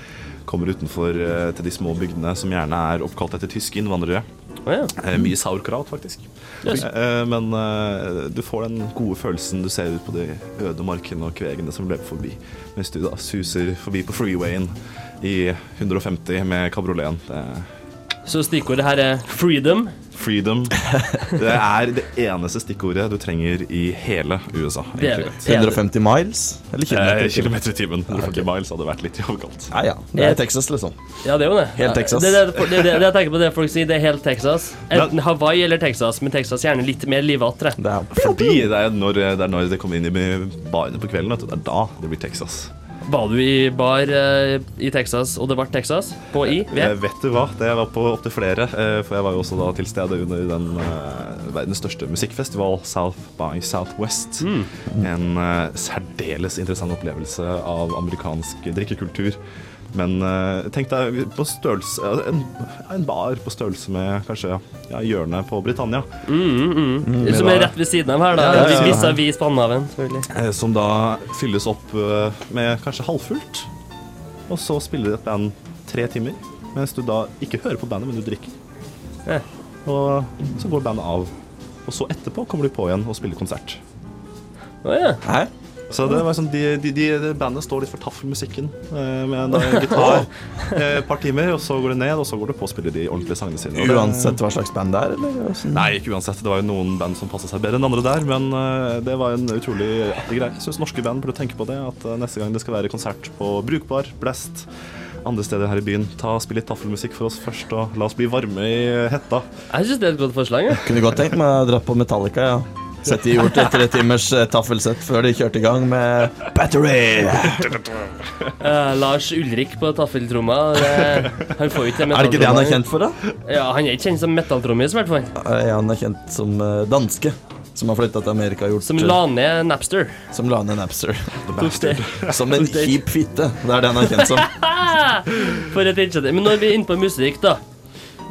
[SPEAKER 3] Kommer utenfor eh, til de små bygdene som gjerne er oppkalt etter tyske innvandrere. Eh, mye sauerkraut, faktisk.
[SPEAKER 4] Yes.
[SPEAKER 3] Eh, men eh, du får den gode følelsen du ser ut på de øde markene og kvegene som løper forbi, mens du da suser forbi på freewayen i 150 med kabrioleten. Det er
[SPEAKER 4] Så stikkordet her er freedom.
[SPEAKER 3] Freedom. Det er det eneste stikkordet du trenger i hele USA.
[SPEAKER 4] Det er
[SPEAKER 3] egentlig.
[SPEAKER 4] det. 150
[SPEAKER 9] miles? Eller kilometer i
[SPEAKER 3] Eh,
[SPEAKER 9] timen?
[SPEAKER 3] kilometer i timen. 140 miles hadde vært litt i overkant.
[SPEAKER 9] Ja, ja. Det er Texas, liksom.
[SPEAKER 4] Ja, det er jo det.
[SPEAKER 9] Helt Texas.
[SPEAKER 4] Det, er det, det, er det, det jeg tenker på det folk sier, det er helt Texas. Enten Hawaii eller Texas, men Texas gjerne litt mer livete.
[SPEAKER 9] Det er
[SPEAKER 3] Fordi det er når eh, det, er når det kommer inn i barene på kvelden, vet du. Det er da det blir Texas.
[SPEAKER 4] Var du i bar eh, i Texas, og det ble Texas? På I? V?
[SPEAKER 3] Eh, vet du hva, det var på opptil flere, eh, for jeg var jo også da til stede under den eh, verdens største musikkfestival, South by Southwest.
[SPEAKER 9] Mm.
[SPEAKER 3] En eh, særdeles interessant opplevelse av amerikansk drikkekultur. Men eh, tenk deg på størrelse eh, en, en bar på størrelse med kanskje ja, hjørnet på Britannia.
[SPEAKER 9] eh,
[SPEAKER 4] Som er
[SPEAKER 3] Med da-
[SPEAKER 4] rett ved siden av her, da.
[SPEAKER 3] Ja, ja, ja.
[SPEAKER 4] Vis-à-vis Spannhaven, selvfølgelig.
[SPEAKER 3] Eh, Som da fylles opp eh, med kanskje halvfullt. Og så spiller et band tre timer, mens du da ikke hører på bandet, men du drikker. Og så går bandet av. Og så etterpå kommer de på igjen og spiller konsert.
[SPEAKER 9] Hæ?
[SPEAKER 3] Så det var sånn, de, de, de, bandet står litt for taffelmusikken eh, med en eh, gitar eh, et par timer, og så går det ned, og så går det på å spille de ordentlige sangene sine. Og det-
[SPEAKER 9] Uansett hva slags band det er, eller? Hvordan-
[SPEAKER 3] Nei, ikke uansett. Det var jo noen band som passa seg bedre enn andre der, men eh, det var en utrolig artig greie. Jeg syns norske band burde tenke på det, at eh, neste gang det skal være konsert på Brukbar, Blast, andre steder her i byen, ta spill litt taffelmusikk for oss først, og la oss bli varme i hetta.
[SPEAKER 4] Jeg syns det er et godt forslag. jeg.
[SPEAKER 9] Kunne godt tenkt meg å dra på Metallica, ja. Sette i hjort et tre timers eh, taffelsett før de kjørte i gang med Battery.
[SPEAKER 4] Eh, Lars Ulrik på taffeltromma. det- Han får jo ikke
[SPEAKER 9] Er det ikke det han er kjent for, da?
[SPEAKER 4] Ja, han er ikke kjent som metalltrommis, i hvert fall.
[SPEAKER 9] Eh, Han er kjent som eh, danske, som har flytta til Amerika og gjort
[SPEAKER 4] Som la ned Napster.
[SPEAKER 9] Som la ned Napster.
[SPEAKER 4] bastard.
[SPEAKER 9] Som en kjip fitte. Det er det han er kjent som.
[SPEAKER 4] For et initiativ. Men når vi er inne på musikk, da.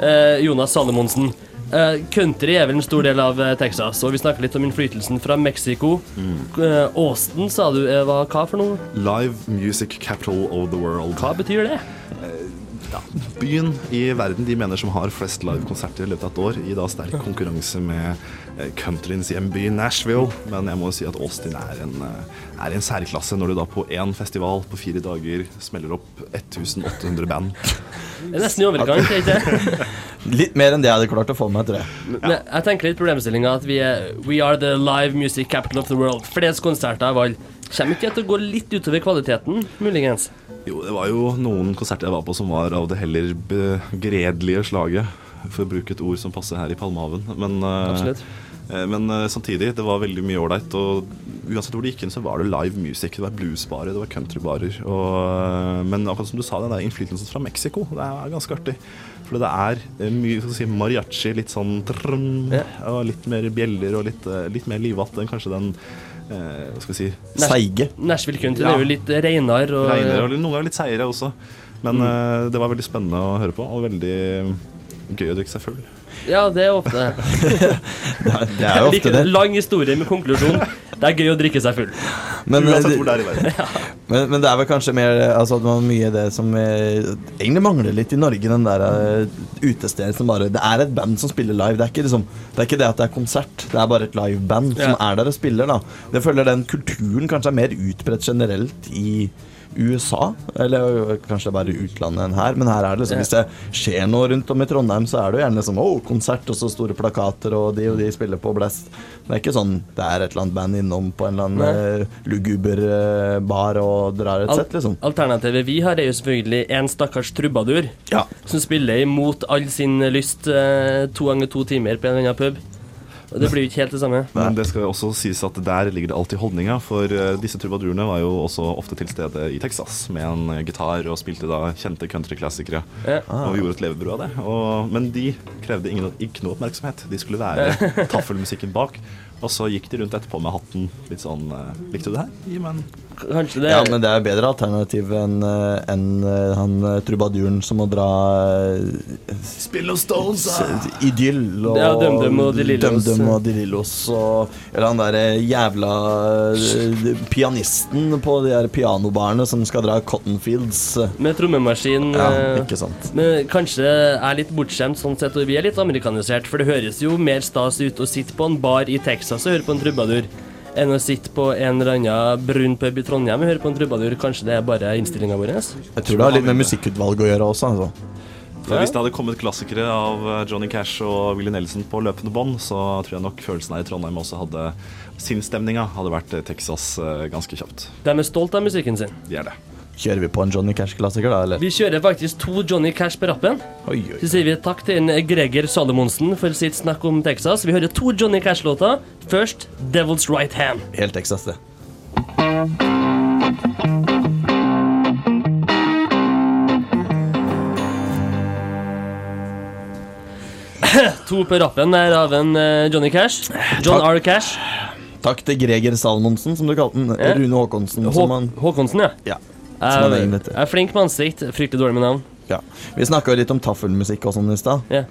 [SPEAKER 4] Eh, Jonas Salomonsen. Eh, country er vel en stor del av eh, Texas, og vi snakker litt om innflytelsen fra Mexico.
[SPEAKER 5] Mm.
[SPEAKER 4] Eh, Austin, sa du, eh, var hva for noe?
[SPEAKER 3] Live music capital of the world.
[SPEAKER 4] Hva betyr det?
[SPEAKER 3] Byen i verden de mener som har flest livekonserter i løpet av et år, i da sterk konkurranse med eh, countryens hjemby Nashville. Men jeg må jo si at Austin er en, eh, er en særklasse når du da på én festival på fire dager smeller opp 1800 band.
[SPEAKER 4] Det er nesten i overkant, er det ikke det?
[SPEAKER 5] Litt mer enn det jeg hadde klart å få med meg, tror jeg.
[SPEAKER 4] Men jeg tenker litt problemstillinga at vi er We are the live music capital of the world. Flest konserter av alle. Kommer ikke det til å gå litt utover kvaliteten, muligens?
[SPEAKER 3] Jo, det var jo noen konserter jeg var på som var av det heller begredelige slaget, for å bruke et ord som passer her i Palmehaven. Men, eh,
[SPEAKER 4] Absolutt.
[SPEAKER 3] eh, men eh, samtidig, det var veldig mye ålreit. Og uansett hvor det gikk inn, så var det live music. Det var bluesbarer, det var countrybarer. Og, eh, men akkurat som du sa, den der innflytelsen fra Mexico, det er ganske artig. For det er eh, mye skal vi si, mariachi, litt sånn trum, og litt mer bjeller og litt, eh, litt mer livete enn kanskje den eh, hva skal vi si
[SPEAKER 4] Nash- Nashville Country det er jo litt reinere. Og,
[SPEAKER 3] Reiner, og noen ganger litt seigere også. Men eh, det var veldig spennende å høre på, og veldig gøy å drikke seg full.
[SPEAKER 4] Ja, det er ofte
[SPEAKER 5] Det er jo ofte det.
[SPEAKER 4] Lang historie med konklusjon. Det er gøy å drikke seg full.
[SPEAKER 5] Men, eh, men, men det er vel kanskje mer eh, altså, det var mye det som eh, egentlig mangler litt i Norge. Den der eh, utestedet som bare Det er et band som spiller live. Det er ikke, liksom, det, er ikke det at det er konsert, det er bare et liveband som
[SPEAKER 4] Ja.
[SPEAKER 5] er der og spiller. Da. Jeg føler den kulturen kanskje er mer utbredt generelt i USA, eller eh, kanskje bare i utlandet enn her, men her er det liksom
[SPEAKER 4] Ja.
[SPEAKER 5] Hvis det skjer noe rundt om i Trondheim, så er det jo gjerne sånn Åh, konsert, og så store plakater, og de og de spiller på Blast. Det er ikke sånn det er et eller annet band innom på en eller annen
[SPEAKER 4] Nei.
[SPEAKER 5] eh, luguber eh, bar og drar et
[SPEAKER 4] Al-
[SPEAKER 5] sett, liksom.
[SPEAKER 4] Alternativet vi har, er jo selvfølgelig en stakkars trubadur som spiller imot all sin lyst eh, to ganger to timer på en eller annen pub. Og det blir jo ikke helt det samme.
[SPEAKER 3] Men det skal jo også sies at der ligger det alltid holdninga, for eh, disse trubadurene var jo også ofte til stede i Texas med en eh, gitar og spilte da kjente countryklassikere.
[SPEAKER 4] Ja.
[SPEAKER 3] Og vi gjorde et levebrød av det. Og, men de krevde ingen, ikke noe oppmerksomhet. De skulle være taffelmusikken bak. Og så gikk de rundt etterpå med hatten litt sånn eh, Likte du det her? Gi meg en
[SPEAKER 4] Kanskje det
[SPEAKER 5] Ja, men det er bedre alternativ enn eh, enn, eh, han eh, trubaduren som må dra eh,
[SPEAKER 3] Spill noen Stones, da!
[SPEAKER 5] Idyll og
[SPEAKER 4] Ja, DumDum og De Lillos.
[SPEAKER 5] DumDum og De Lillos og- Eller han derre jævla eh, pianisten på de der pianobarene som skal dra Cottonfields.
[SPEAKER 4] Med trommemaskin.
[SPEAKER 5] Ja,
[SPEAKER 4] eh,
[SPEAKER 5] ikke sant.
[SPEAKER 4] Men kanskje jeg er litt bortskjemt sånn sett, og vi er litt amerikanisert, for det høres jo mer stas ut å sitte på en bar i Texas og høre på en trubadur, enn å sitte på en eller annen brun pub i Trondheim og høre på en trubadur. Kanskje det er bare innstillinga vår?
[SPEAKER 5] Jeg tror det har litt med musikkutvalget å gjøre også. Altså.
[SPEAKER 3] For Hvis det hadde kommet klassikere av eh, Johnny Cash og Willie Nelson på løpende bånd, så tror jeg nok følelsen her i Trondheim også hadde Sinnsstemninga hadde vært eh, Texas eh, ganske kjapt.
[SPEAKER 4] De er stolt av musikken sin.
[SPEAKER 3] De er det.
[SPEAKER 5] Kjører vi på en Johnny Cash-klassiker, da? Eller?
[SPEAKER 4] Vi kjører faktisk to Johnny Cash på rappen.
[SPEAKER 5] Oi, oi.
[SPEAKER 4] Så sier vi takk til en Greger Salomonsen for sitt snakk om Texas. Vi hører to Johnny Cash-låter. Først Devil's Right Hand.
[SPEAKER 5] Helt Texas, det.
[SPEAKER 4] To på rappen der av en eh, Johnny Cash. John R. Cash.
[SPEAKER 5] Takk til Greger Salmonsen, som du kalte den.
[SPEAKER 4] Ja.
[SPEAKER 5] Rune Håkonsen.
[SPEAKER 4] Hå Eh,
[SPEAKER 5] Som han,
[SPEAKER 4] Håkonsen, ja.
[SPEAKER 5] ja, som han
[SPEAKER 4] Jeg
[SPEAKER 5] egentlig
[SPEAKER 4] jeg er flink med ansikt, fryktelig dårlig med navn.
[SPEAKER 5] Ja. Vi snakka litt om taffelmusikk og sånn i stad.
[SPEAKER 4] Ja.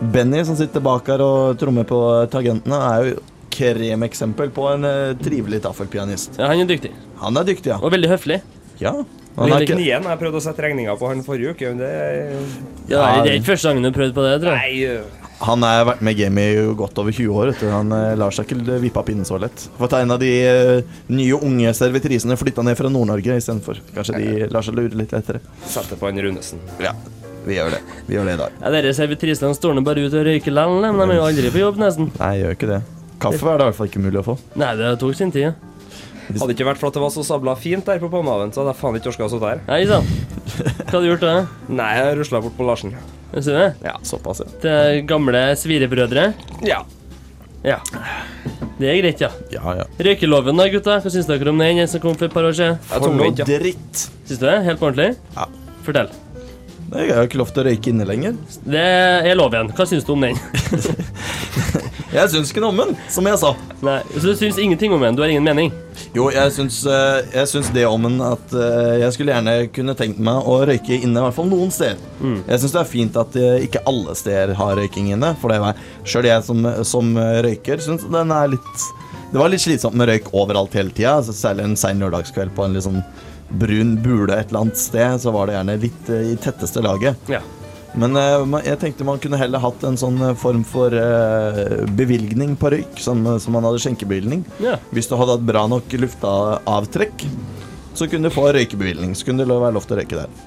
[SPEAKER 5] Benny, som sitter bak her og trommer på tagentene, er jo kremeksempel på en eh, trivelig taffelpianist.
[SPEAKER 4] Ja, han er dyktig.
[SPEAKER 5] Han er dyktig, ja.
[SPEAKER 4] Og veldig høflig.
[SPEAKER 5] Ja.
[SPEAKER 8] Han
[SPEAKER 5] Han er ikke
[SPEAKER 8] Knien, jeg prøvde å sette regninga på han forrige uke, men det
[SPEAKER 4] Ja, det er ikke første gangen du prøvde på det, tror jeg.
[SPEAKER 8] Nei, øh,
[SPEAKER 5] Han har vært med i gamet i godt over 20 år. Vet du. Han eh, lar seg ikke vippe av pinnen så lett. Fått en av de eh, nye unge servitrisene flytta ned fra Nord-Norge istedenfor. Kanskje de lar seg lure litt lettere.
[SPEAKER 8] Sette på han Runesen.
[SPEAKER 5] Ja, vi gjør det. Vi gjør det i dag.
[SPEAKER 4] Ja, Dere servitrisene står nå bare ute og røyker land, men de er jo aldri på jobb, nesten.
[SPEAKER 5] Nei, jeg gjør ikke det. Kaffe er det i hvert fall ikke mulig å få.
[SPEAKER 4] Nei, det tok sin tid. ja.
[SPEAKER 8] Hadde ikke vært for at det var så sabla fint der på Palmehaven, så hadde jeg faen ikke orka å sitte her.
[SPEAKER 4] Nei sant. Hva hadde du gjort da?
[SPEAKER 8] Nei, jeg rusla bort på Larsen.
[SPEAKER 4] Jeg Ser det?
[SPEAKER 5] Ja, såpass, ja.
[SPEAKER 4] Til gamle svirebrødre.
[SPEAKER 8] Ja.
[SPEAKER 4] Ja. Det er greit, ja.
[SPEAKER 5] Ja, ja.
[SPEAKER 4] Røykeloven da, gutta? Hva syns dere om den den som kom for et par år siden?
[SPEAKER 8] Jeg tok den ikke.
[SPEAKER 5] dritt!
[SPEAKER 4] Syns du det? Helt på ordentlig?
[SPEAKER 5] Ja.
[SPEAKER 4] Fortell.
[SPEAKER 5] Nei, Jeg har jo ikke lov til å røyke inne lenger.
[SPEAKER 4] Det er lov igjen. Hva syns du om den?
[SPEAKER 5] Jeg syns ikke noe om den, som jeg sa.
[SPEAKER 4] Nei, Så du syns ingenting om den? Du har ingen mening?
[SPEAKER 5] Jo, jeg syns, eh, jeg syns det om den at eh, jeg skulle gjerne kunne tenkt meg å røyke inne, i hvert fall noen steder. Jeg syns det er fint at eh, ikke alle steder har røyking inne, for det er sjøl jeg som, som eh, røyker, syns den er litt Det var litt slitsomt med røyk overalt hele tida, altså, særlig en sein lørdagskveld på en litt sånn brun bule et eller annet sted, så var det gjerne litt eh, i tetteste laget.
[SPEAKER 4] Ja.
[SPEAKER 5] Men eh, man- jeg tenkte man kunne heller hatt en sånn eh, form for eh, bevilgning på røyk, som, eh, som man hadde skjenkebevilgning.
[SPEAKER 4] Ja.
[SPEAKER 5] Hvis du hadde hatt bra nok luftaavtrekk, så kunne du få røykebevilgning. Så kunne det lo- være lov til å røyke der.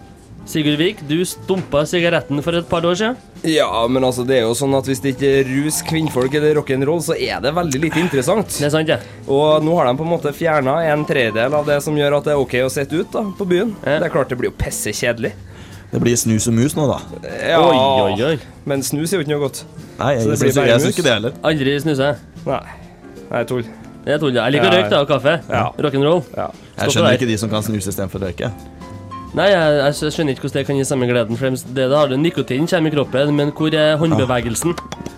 [SPEAKER 4] Sigurd Vik, du stumpa sigaretten for et par år siden.
[SPEAKER 8] Ja, men altså, det er jo sånn at hvis det ikke er rus, kvinnfolk eller rock'n'roll, så er det veldig lite interessant. Det
[SPEAKER 4] er sant, ja.
[SPEAKER 8] Og nå har de på en måte fjerna en tredjedel av det som gjør at det er ok å sitte ut da, på byen. Det er klart det blir jo pissekjedelig.
[SPEAKER 9] Det blir snus og mus nå, da.
[SPEAKER 8] Ja,
[SPEAKER 9] Oi, oi,
[SPEAKER 8] men snus er jo ikke noe godt.
[SPEAKER 9] Nei, jeg
[SPEAKER 8] Så det
[SPEAKER 9] synes-
[SPEAKER 8] blir bare
[SPEAKER 9] jeg
[SPEAKER 8] mus.
[SPEAKER 9] synes ikke det heller.
[SPEAKER 4] Aldri snuser jeg.
[SPEAKER 8] Nei. Nei, tull.
[SPEAKER 4] Det er tull. Jeg liker
[SPEAKER 9] Ja,
[SPEAKER 4] røyk da, og kaffe. Rock'n'roll.
[SPEAKER 9] Jeg skjønner ikke de som kan snuse istedenfor å røyke.
[SPEAKER 4] Nei, jeg, jeg skj- skjønner ikke hvordan det kan gi samme gleden. For dem- det, da har du Nikotin kommer i kroppen, men hvor er håndbevegelsen?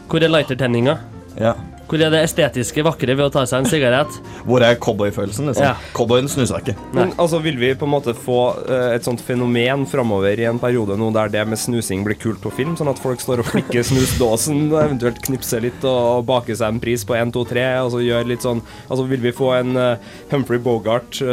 [SPEAKER 4] Hvor er lightertenninga?
[SPEAKER 9] Ja.
[SPEAKER 4] Hvor er det estetiske vakre ved å ta seg en sigarett?
[SPEAKER 9] Hvor er cowboyfølelsen? Liksom?
[SPEAKER 4] Ja.
[SPEAKER 9] Cowboyen snuser ikke.
[SPEAKER 8] Men altså, vil vi på en måte få eh, et sånt fenomen framover i en periode nå der det med snusing blir kult på film, sånn at folk står og flikker snusdåsen, og eventuelt knipser litt og baker seg en pris på 1, 2, 3, og så gjør litt sånn Altså, vil vi få en eh, Humphrey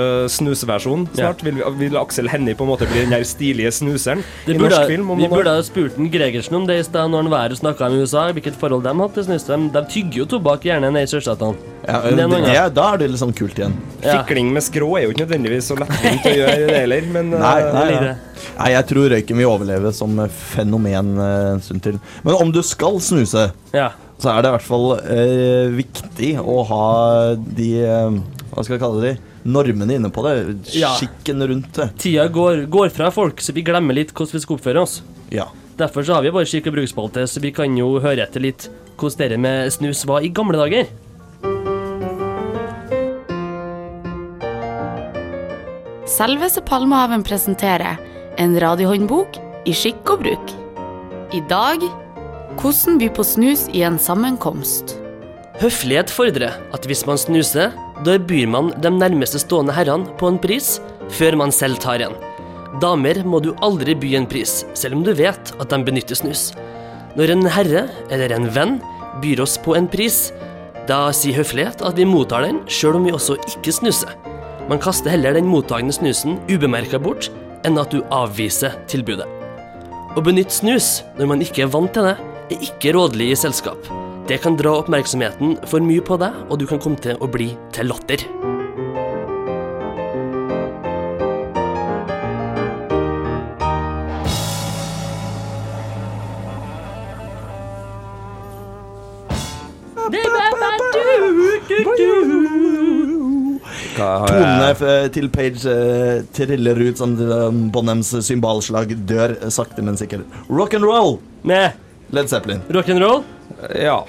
[SPEAKER 8] Bogart-snusversjon snart? Vil, vi, vil Aksel Hennie på en måte bli den der stilige snuseren
[SPEAKER 4] Det
[SPEAKER 8] i
[SPEAKER 4] burde,
[SPEAKER 8] norsk film? om
[SPEAKER 4] vi
[SPEAKER 8] noen år?
[SPEAKER 4] burde ha spurt en Gregersen om det i sted når han var her og snakka om USA. Hvilket forhold de hadde til snus. De, de tygger jo tobakk gjerne ned i sørstatene.
[SPEAKER 9] Ja,
[SPEAKER 4] Men det er noe
[SPEAKER 9] det,
[SPEAKER 4] annet.
[SPEAKER 9] da er det
[SPEAKER 5] sånn
[SPEAKER 9] liksom kult igjen.
[SPEAKER 8] Fikling med skrå er jo ikke nødvendigvis så lettvint å gjøre det heller, men eh,
[SPEAKER 9] Nei, nei, nei. nei, jeg tror røyken vil overleve som fenomen eh, en stund til. Men om du skal snuse,
[SPEAKER 4] Ja.
[SPEAKER 9] så er det i hvert fall eh, viktig å ha de eh, Hva skal jeg kalle de? Normene inne på det.
[SPEAKER 4] Ja.
[SPEAKER 9] Skikken rundt det.
[SPEAKER 4] Tida går, går fra folk, så vi glemmer litt hvordan vi skal oppføre oss.
[SPEAKER 9] Ja.
[SPEAKER 4] Derfor så har vi bare skikk og bruksspalte, så vi kan jo høre etter litt hvordan dere med snus var i gamle dager.
[SPEAKER 6] Selveste Palmehaven presenterer en radiohåndbok i skikk og bruk. I dag hvordan by på snus i en sammenkomst.
[SPEAKER 4] Høflighet fordrer at hvis man snuser, da byr man de nærmeste stående herrene på en pris før man selv tar en. Damer må du aldri by en pris, selv om du vet at de benytter snus. Når en herre eller en venn byr oss på en pris, da sier høflighet at vi mottar den sjøl om vi også ikke snuser. Man kaster heller den mottagende snusen ubemerka bort enn at du avviser tilbudet. Å benytte snus når man ikke er vant til det, er ikke rådelig i selskap. Det kan dra oppmerksomheten for mye på deg, og du kan komme til å bli til latter.
[SPEAKER 9] Tonene f- til Page eh, triller ut som um, Bonhams symbalslag dør eh, sakte, men sikkert. Rock'n'roll!
[SPEAKER 4] Med
[SPEAKER 9] Led Zeppelin.
[SPEAKER 4] Rock'n'roll?
[SPEAKER 8] Ja.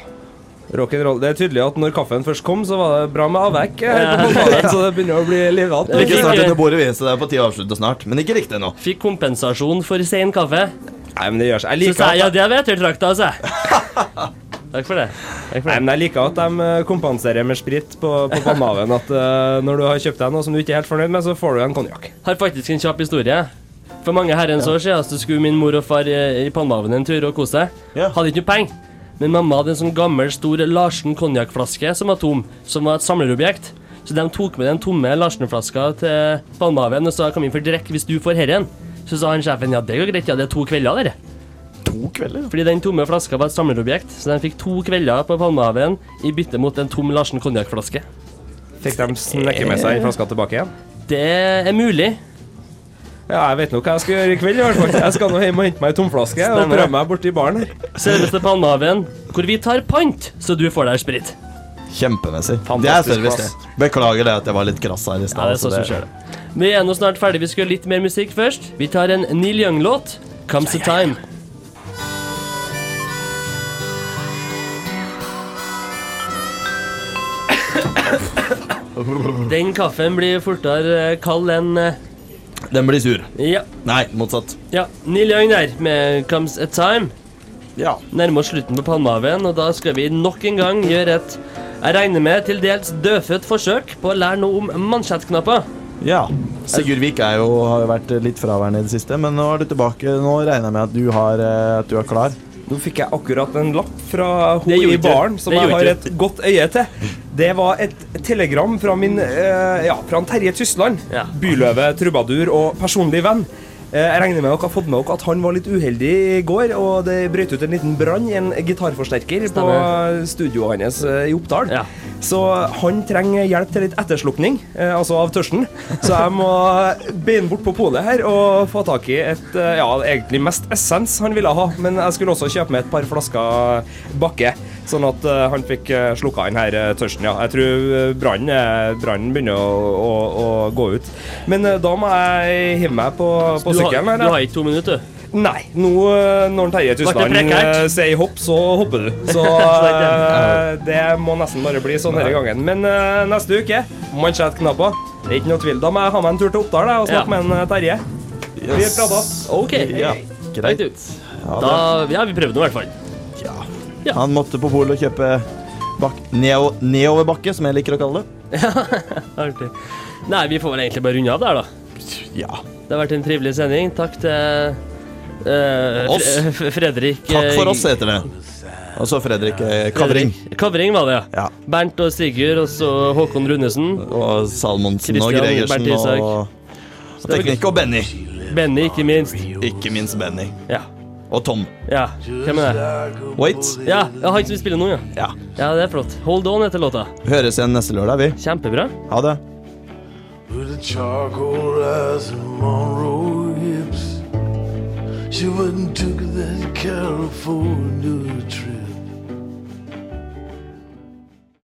[SPEAKER 8] Rock'n'roll. Det er tydelig at når kaffen først kom, så var det bra med avvekk. her
[SPEAKER 4] Ja.
[SPEAKER 8] på Palmehaven, Så det begynner å bli livete.
[SPEAKER 9] Ikke snart under bordet, vi, så det er på tide å avslutte snart. Men ikke riktig ennå.
[SPEAKER 4] Fikk kompensasjon for sein kaffe.
[SPEAKER 8] Nei, men det gjør seg.
[SPEAKER 4] Så
[SPEAKER 8] Jeg liker
[SPEAKER 4] sa jeg ja,
[SPEAKER 8] at,
[SPEAKER 4] det er vetertrakta, sa jeg. Takk for det.
[SPEAKER 8] Nei, men jeg liker at de eh, kompenserer med sprit på, på Palmehaven. At eh, når du har kjøpt deg noe som du ikke er helt fornøyd med, så får du en konjakk.
[SPEAKER 4] Har faktisk en kjapp historie. For mange herrens år siden så skulle min mor og far eh, i Palmehaven en tur og kose seg. Hadde ikke noe penger. Men mamma hadde en sånn gammel, stor Larsen konjakkflaske som var tom, som var et samlerobjekt. Så de tok med den tomme Larsen-flaska til Palmehaven og sa kom inn for drikk hvis du får herren. Så sa han sjefen ja, det går greit, ja, det er to kvelder, dere.
[SPEAKER 9] To kvelder?
[SPEAKER 4] Fordi den tomme flaska var et samlerobjekt, så de fikk to kvelder på Palmehaven i bytte mot en tom Larsen konjakkflaske.
[SPEAKER 8] Fikk de snekke med seg den flaska tilbake igjen?
[SPEAKER 4] Det er mulig.
[SPEAKER 8] Ja, jeg vet nå hva jeg skal gjøre i kveld. i hvert fall. Jeg skal nå hjem og hente meg ei tomflaske og
[SPEAKER 4] Stemmer.
[SPEAKER 8] prøve meg borti baren her.
[SPEAKER 4] Selveste
[SPEAKER 9] Mm.
[SPEAKER 4] Palmehaven, hvor vi tar pant, så du får deg sprit.
[SPEAKER 9] Kjempemessig. Det er service,
[SPEAKER 4] plass.
[SPEAKER 9] det. Beklager det at jeg var litt krass her i stad.
[SPEAKER 4] Ja, det er
[SPEAKER 9] altså,
[SPEAKER 4] sånn som skjer det. Vi er nå snart ferdig. Vi skal høre litt mer musikk først. Vi tar en Neil Young-låt. Comes the time. Den kaffen blir fortere eh, kald enn eh,
[SPEAKER 9] Den blir sur.
[SPEAKER 4] Ja.
[SPEAKER 9] Nei, motsatt.
[SPEAKER 4] Ja, Neil Young der med Comes a Time.
[SPEAKER 9] Ja.
[SPEAKER 4] Nærmer oss slutten på Palmehaven, og da skal vi nok en gang gjøre et jeg regner med til dels dødfødt forsøk på å lære noe om mansjettknapper.
[SPEAKER 9] Ja. Sigurd Vik er jo, har jo vært litt fraværende i det siste, men nå er du tilbake. Nå regner jeg med at du, har, eh, at du er klar.
[SPEAKER 8] Nå fikk jeg akkurat en lapp fra hun
[SPEAKER 9] Det gjorde
[SPEAKER 8] i
[SPEAKER 9] ikke.
[SPEAKER 8] baren som
[SPEAKER 9] Det
[SPEAKER 8] jeg
[SPEAKER 9] gjorde
[SPEAKER 8] har et
[SPEAKER 9] ikke.
[SPEAKER 8] godt øye til. Det var et telegram fra min eh, Ja, fra han Terje Tysland. Byløve, trubadur og personlig venn. Eh, Jeg regner med dere har fått med dere at han var litt uheldig i går, og det brøt ut en liten brann i en gitarforsterker på
[SPEAKER 4] Stemmer.
[SPEAKER 8] studioet hans eh, i Oppdal. Så han trenger hjelp til litt etterslukning, eh, altså av tørsten. Så jeg må beine bort på polet her og få tak i et eh, Ja, egentlig mest essens han ville ha, men jeg skulle også kjøpe med et par flasker bakke, sånn at eh, han fikk eh, slukka inn her eh, tørsten, ja. Jeg tror eh, brannen eh, brannen begynner å, å, å gå ut. Men eh, da må jeg hive meg på, på
[SPEAKER 4] du har-
[SPEAKER 8] sykkelen.
[SPEAKER 4] du har
[SPEAKER 8] ikke to minutter? Nei. Nå, eh, når Terje
[SPEAKER 4] Ble det
[SPEAKER 8] Tysland eh,
[SPEAKER 4] prekært?
[SPEAKER 8] sier hopp, så hopper du. Så
[SPEAKER 4] Så det er
[SPEAKER 8] eh, det må nesten bare bli sånn denne gangen. Men eh, neste uke, mansjettknapper. Det er ikke noe tvil. Da må jeg ha meg en tur til Oppdal jeg, og
[SPEAKER 4] Ja.
[SPEAKER 8] snakke med en eh, Terje. Vi
[SPEAKER 4] Yes.
[SPEAKER 8] prater.
[SPEAKER 4] Ok.
[SPEAKER 8] Ja.
[SPEAKER 3] Greit.
[SPEAKER 4] Da, ja, vi prøvde nå i hvert fall.
[SPEAKER 3] Han måtte på polet og kjøpe bak neo nedoverbakke, som jeg liker å kalle det.
[SPEAKER 4] Artig. Nei, vi får vel egentlig bare runde av der, da.
[SPEAKER 3] Ja.
[SPEAKER 4] Det har vært en trivelig sending. Takk til eh,
[SPEAKER 3] Oss.
[SPEAKER 4] Fre- Fredrik
[SPEAKER 3] Takk for
[SPEAKER 4] eh,
[SPEAKER 3] oss, heter det. Og så Fredrik eh, Kavring.
[SPEAKER 4] Fredrik- Kavring var det, ja. Bernt og Sigurd, og så Håkon Rundesen.
[SPEAKER 3] Og Salmonsen og
[SPEAKER 4] Christian,
[SPEAKER 3] Gregersen
[SPEAKER 4] Bernt Isak.
[SPEAKER 3] og, og teknikk og Benny.
[SPEAKER 4] Benny, ikke minst.
[SPEAKER 3] Ikke minst Benny.
[SPEAKER 4] Ja.
[SPEAKER 3] Og Tom.
[SPEAKER 4] Ja, hvem er det?
[SPEAKER 3] Wait.
[SPEAKER 4] Ja, ja, han som spiller nå, ja.
[SPEAKER 3] ja.
[SPEAKER 4] Ja, det er flott. Hold on heter låta.
[SPEAKER 3] Høres igjen neste lørdag, vi.
[SPEAKER 4] Kjempebra.
[SPEAKER 3] Ha det.
[SPEAKER 12] With the charcoal eyes and Monroe hips, she wouldn't took that California trip.